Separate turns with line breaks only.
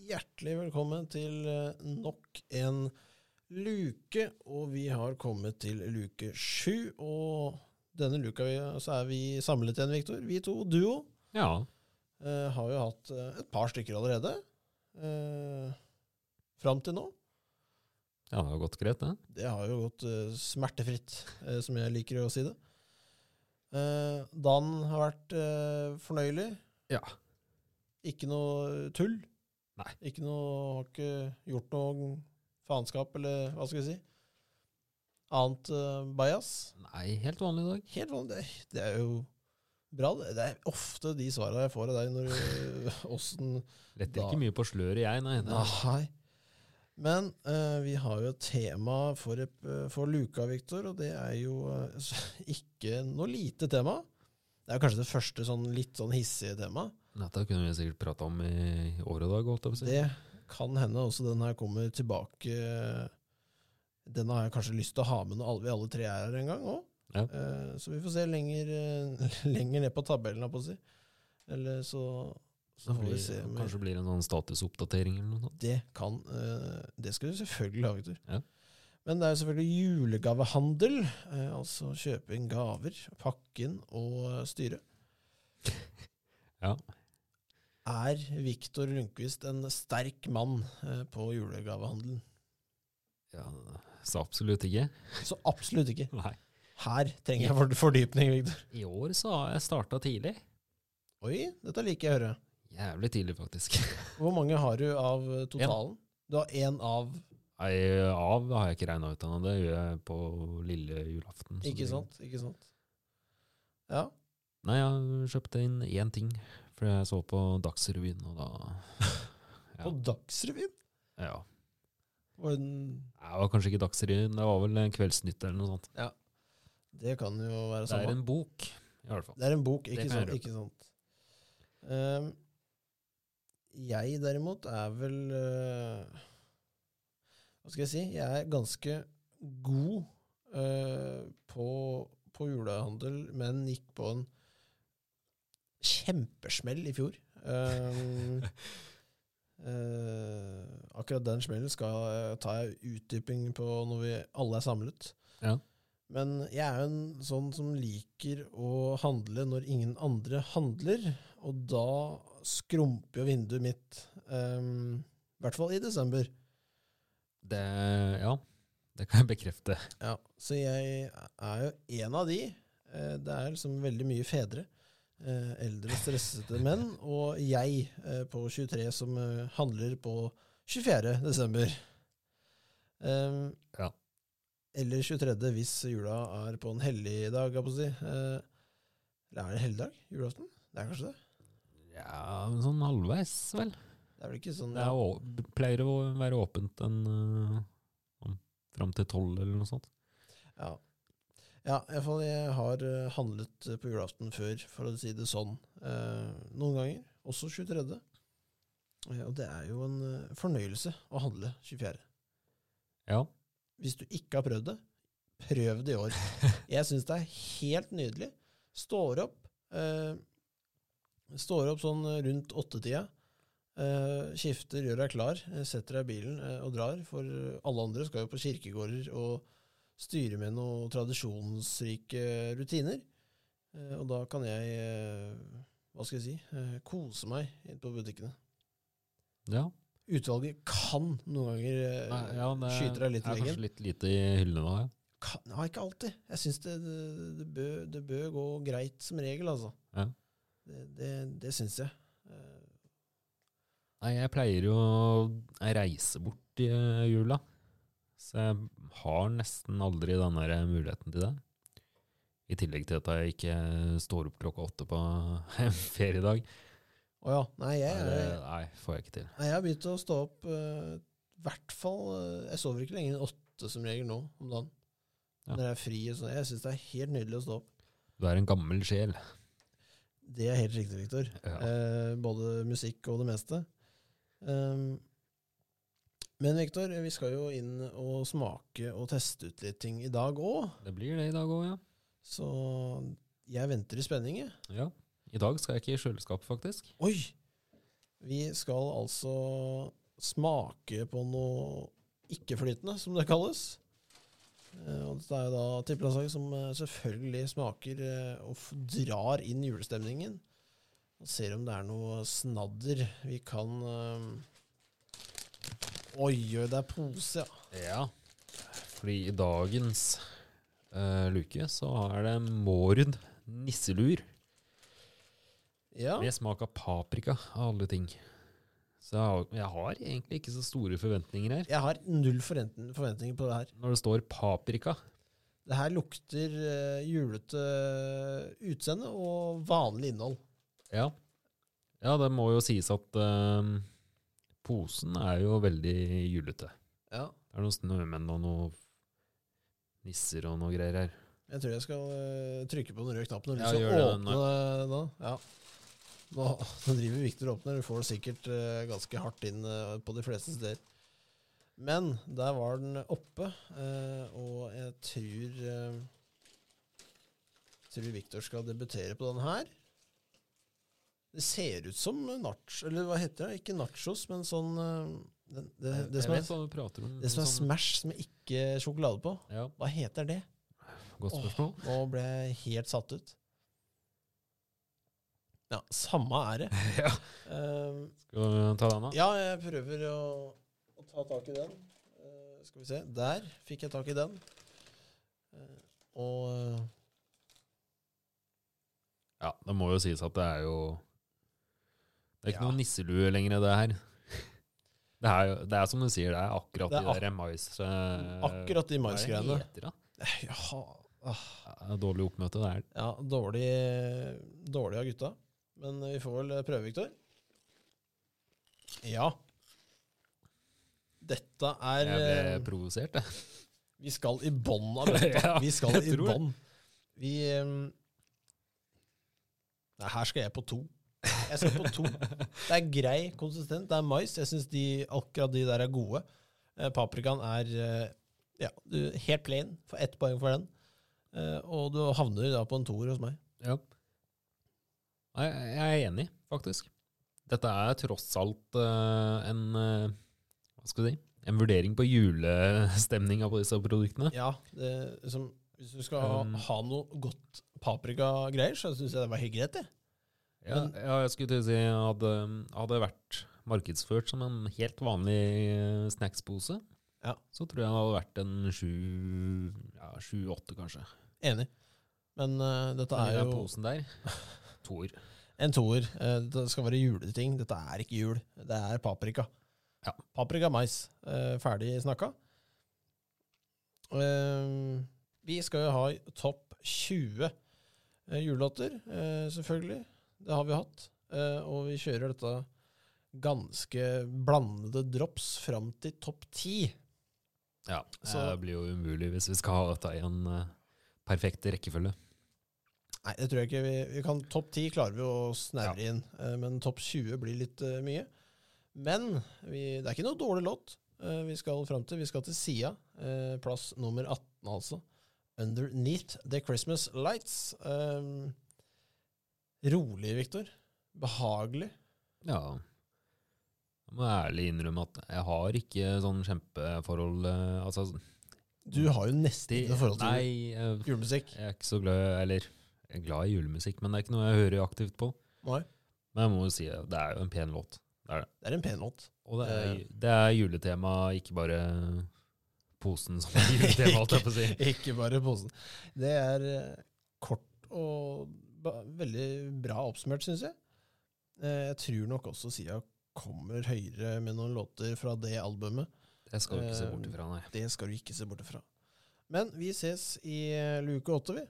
Hjertelig velkommen til eh, nok en luke, og vi har kommet til luke sju. Og denne luka vi, så er vi samlet igjen, Viktor. Vi to, duo,
Ja.
eh, har jo hatt eh, et par stykker allerede. Eh, Fram til nå.
ja, det har gått greit, det.
Det har jo gått eh, smertefritt, eh, som jeg liker å si det. Eh, Dan har vært eh, fornøyelig.
Ja.
Ikke noe tull.
Nei.
Ikke noe, har ikke gjort noe faenskap, eller hva skal jeg si. Annet eh, bajas.
Nei, helt vanlig dag.
Helt vanlig. Det, er- det er jo bra. Det, det er ofte de svara jeg får av deg når du Åssen
Letter
Da-
ikke mye på sløret, jeg, nei. Det,
Nei. Ah, Men eh, vi har jo et tema for, eh, for luka, Viktor, og det er jo eh, ikke noe lite tema. Det er kanskje det første sånn litt sånn hissige temaet.
Dette kunne vi sikkert prata om i år og dag, holdt jeg på å si.
Det kan hende også den her kommer tilbake. eh, Den har jeg kanskje lyst til å ha med når alle- vi alle tre er her en gang òg.
Ja.
så vi får se lenger, eh, lenger ned på tabellen, holdt på å si. Eller så, så
Så
får
blir,
vi se. om vi-
kanskje blir det en sånn statusoppdatering eller noe sånt.
Det kan eh, Det skal du selvfølgelig ha, Victor.
Ja.
Men det er jo selvfølgelig julegavehandel. eh, altså kjøpe inn gaver, pakke inn og eh, styre.
Ja.
Er Viktor Lundqvist en sterk mann eh, på julegavehandelen?
Ja, så absolutt ikke.
Så absolutt ikke.
Nei.
Her trenger jeg for- fordypning, Victor.
I år så har jeg starta tidlig.
Oi, dette liker jeg å høre.
Jævlig tidlig, faktisk.
Hvor mange har du av eh, totalen? Du har én av,
Nei, av har jeg ikke regna ut ennå. Det gjør jeg på lille julaften. så
ikke
det-
sant? Ikke sant? Ja.
Nei, jeg kjøpte inn én ting, for jeg så på Dagsrevyen, og da Ja.
På Dagsrevyen?
Ja.
Var den
Nei, Det var kanskje ikke Dagsrevyen, det var vel Kveldsnytt eller noe sånt.
Det kan jo være
Det
samme.
er en bok, i hvert fall.
Det er en bok, ikke
Det kan
sant?
jeg
Ikke sant. Ehm, jeg derimot er vel eh, Hva skal jeg si? Jeg er ganske god eh, på, på julehandel, men gikk på en kjempesmell i fjor. Ehm, eh, akkurat den smellen skal eh, ta jeg utdyping på når vi alle er samlet.
Ja.
Men jeg er jo en sånn som liker å handle når ingen andre handler, og da skrumper jo vinduet mitt. ehm, I hvert fall i desember.
Det, ja, det kan jeg bekrefte.
Ja, så jeg er jo en av de. Eh, Det er liksom veldig mye fedre. eh, Eldre, stressete menn. Og jeg eh, på 23 som eh, handler på 24. desember. Ehm,
Ja.
Eller 23. hvis jula er på en hellig dag, jeg på å si. Eh, Eller er det helligdag? Julaften? Det er kanskje det?
Ja, men sånn halvveis, vel.
Det er vel ikke sånn
Det er, å- pleier å være åpent en øh, om- fram til tolv eller noe sånt.
Ja. Ja, i hvert fall jeg har eh, handlet eh, på julaften før, for å si det sånn, eh, noen ganger. Også 23. Eh, og det er jo en eh, fornøyelse å handle 24.
Ja.
Hvis du ikke har prøvd det, prøv det i år. Jeg syns det er helt nydelig. Står opp eh, Står opp sånn rundt åttetida. Eh, skifter, gjør deg klar, eh, setter deg i bilen eh, og drar. For eh, alle andre skal jo på kirkegårder og styre med noen tradisjonsrike rutiner. Eh, og da kan jeg eh, Hva skal jeg si? Eh, kose meg inne på butikkene.
Ja,
Utvalget kan noen ganger eh,
Nei, ja det
skyte deg litt i
er
leggen.
kanskje litt lite i hyllene da. Ja.
kan, ja, ikke alltid. Jeg syns det, det, det, bør, det bør gå greit som regel, altså.
Ja.
Det, det, det syns jeg. Eh,
Nei, jeg pleier jo å reise bort i øh, jula, så jeg har nesten aldri den der muligheten til det. I tillegg til at jeg ikke står opp klokka åtte på en feriedag.
Å ja. Nei, jeg, er-
Nei, det- nei, får jeg ikke til.
nei, jeg har begynt å stå opp eh, i hvert fall eh, Jeg sover ikke lenger enn åtte som regel nå om dagen.
Ja.
Når jeg er fri og sånn. Jeg syns det er helt nydelig å stå opp.
Du er en gammel sjel.
Det er helt riktig, Viktor.
Ja.
Eh, både musikk og det meste. Um, men Viktor, vi skal jo inn og smake og teste ut litt ting i dag òg.
Det blir det i dag òg, ja.
Så jeg venter i spenning, jeg.
ja. I dag skal jeg ikke i kjøleskapet, faktisk.
Oi! Vi skal altså smake på noe ikke-flytende, som det kalles. Eh, Og det er jo da tippelandslaget som eh, selvfølgelig smaker eh, og f- drar inn julestemningen. Og ser om det er noe snadder vi kan eh, Oi, oi, det er pose, ja.
Ja. Fordi i dagens eh, luke så er det Mårud nisselur
Ja,
med smak av paprika av alle ting. Så jeg har, jeg har egentlig ikke så store forventninger her.
Jeg har null forventen- forventninger på det her.
Når det står paprika
Det her lukter eh, julete eh, utseende og vanlig innhold.
Ja, ja det må jo sies at eh, posen er jo veldig julete.
Ja.
Det er noen snømenn og noen nisser og noe greier her.
Jeg tror jeg skal eh, trykke på den røde knappen og
Ja,
liksom
gjør det,
åpne det nå. Ja. Nå, nå driver Viktor og åpner, du får det sikkert eh, ganske hardt inn eh, på de fleste steder. Men der var den oppe, eh, og jeg tror eh, Tror Viktor skal debutere på den her. Det ser ut som nacho, eller hva heter det? Ikke nachos, men sånn eh, den- det, det,
jeg
som
vet
er,
hva du prater om.
det som er
sånn-
Smash som ikke er sjokolade på.
Ja,
Hva heter det?
godt
Åh.
spørsmål.
Nå ble jeg helt satt ut. Ja, samme er det.
ja.
Um,
Skal vi ta den, da?
ja, jeg prøver å, å ta tak i den. Eh, skal vi se. Der fikk jeg tak i den. Eh, og eh,
Ja, det må jo sies at det er jo Det er ikke
Ja.
noen nisselue lenger, det her. Det er, jo, det er som du sier, det er akkurat
Det er
de der mais... eh,
akkurat de
hva er det
maisgreiene.
heter, da?
Eh, Ja, ah,
Ja, Dårlig oppmøte, det er det.
ja dårlig, dårlig av gutta. Men vi får vel prøve, Viktor. Ja. Dette er
Jeg
eh,
ble provosert, jeg.
Vi skal i bånn av bøtta.
Ja,
Vi skal
jeg
i
tror det.
bånn. Vi ehm, Nei, her skal jeg på to. Jeg skal på to. Det er grei konsistent. Det er mais. Jeg syns de, akkurat de der er gode. Eh, paprikaen er eh, ja, du, helt plain. Får ett poeng for den. Eh, og du havner da på en toer hos meg.
Ja. Nei, jeg er enig, faktisk. Dette er tross alt eh, en eh, Hva skal jeg si? En vurdering på julestemninga på disse produktene.
Ja, det, liksom, Hvis du skal ha,
Um.
ha noe godt paprikagreier, så syns jeg det var helt greit, det.
Ja,
Men-
ja, jeg skulle til å si hadde, hadde det vært markedsført som en helt vanlig eh, snackspose,
Ja.
så tror jeg det hadde vært en sju ja, sju-åtte, kanskje.
Enig. Men eh, dette
Men
er
i den
jo
posen der. Toer.
En toer. Eh, Det skal være juleting. Dette er ikke jul, det er paprika.
Ja.
Paprika, mais. Eh, Ferdig snakka. Eh, Vi skal jo ha topp 20 eh, julelåter, eh, selvfølgelig. Det har vi hatt. Eh, Og vi kjører dette ganske blandede drops fram til topp 10.
Ja,
Så-
det blir jo umulig hvis vi skal ha dette i en eh, perfekt rekkefølge.
Nei, det tror jeg ikke. Vi, vi kan Topp 10 klarer vi å snevre inn, eh, men topp 20 blir litt eh, mye. Men vi, det er ikke noe dårlig låt eh, vi skal fram til. Vi skal til Sia, eh, plass nummer 18 altså. 'Underneath The Christmas Lights'. Eh, rolig, Viktor. Behagelig.
Ja. Jeg må ærlig innrømme at jeg har ikke sånn kjempeforhold eh, altså,
Du har jo nesten
de,
ikke noe forhold til
Nei, jeg,
julemusikk.
jeg er ikke så glad Eller, jeg er glad i julemusikk, men det er ikke noe jeg hører aktivt på.
Nei.
Men jeg må jo si at det er jo en pen låt.
Det er en pen låt.
Og det er, det er juletema, ikke bare posen som er juletema, holdt jeg på å si.
Ikke bare posen. Det er eh, kort og ba- veldig bra oppsummert, syns jeg. Eh, Jeg tror nok også Sia kommer høyere med noen låter fra det albumet.
Det skal du ikke se bort ifra, nei.
Det skal du ikke se bort fra. Men vi ses i eh, luke åtte, vi.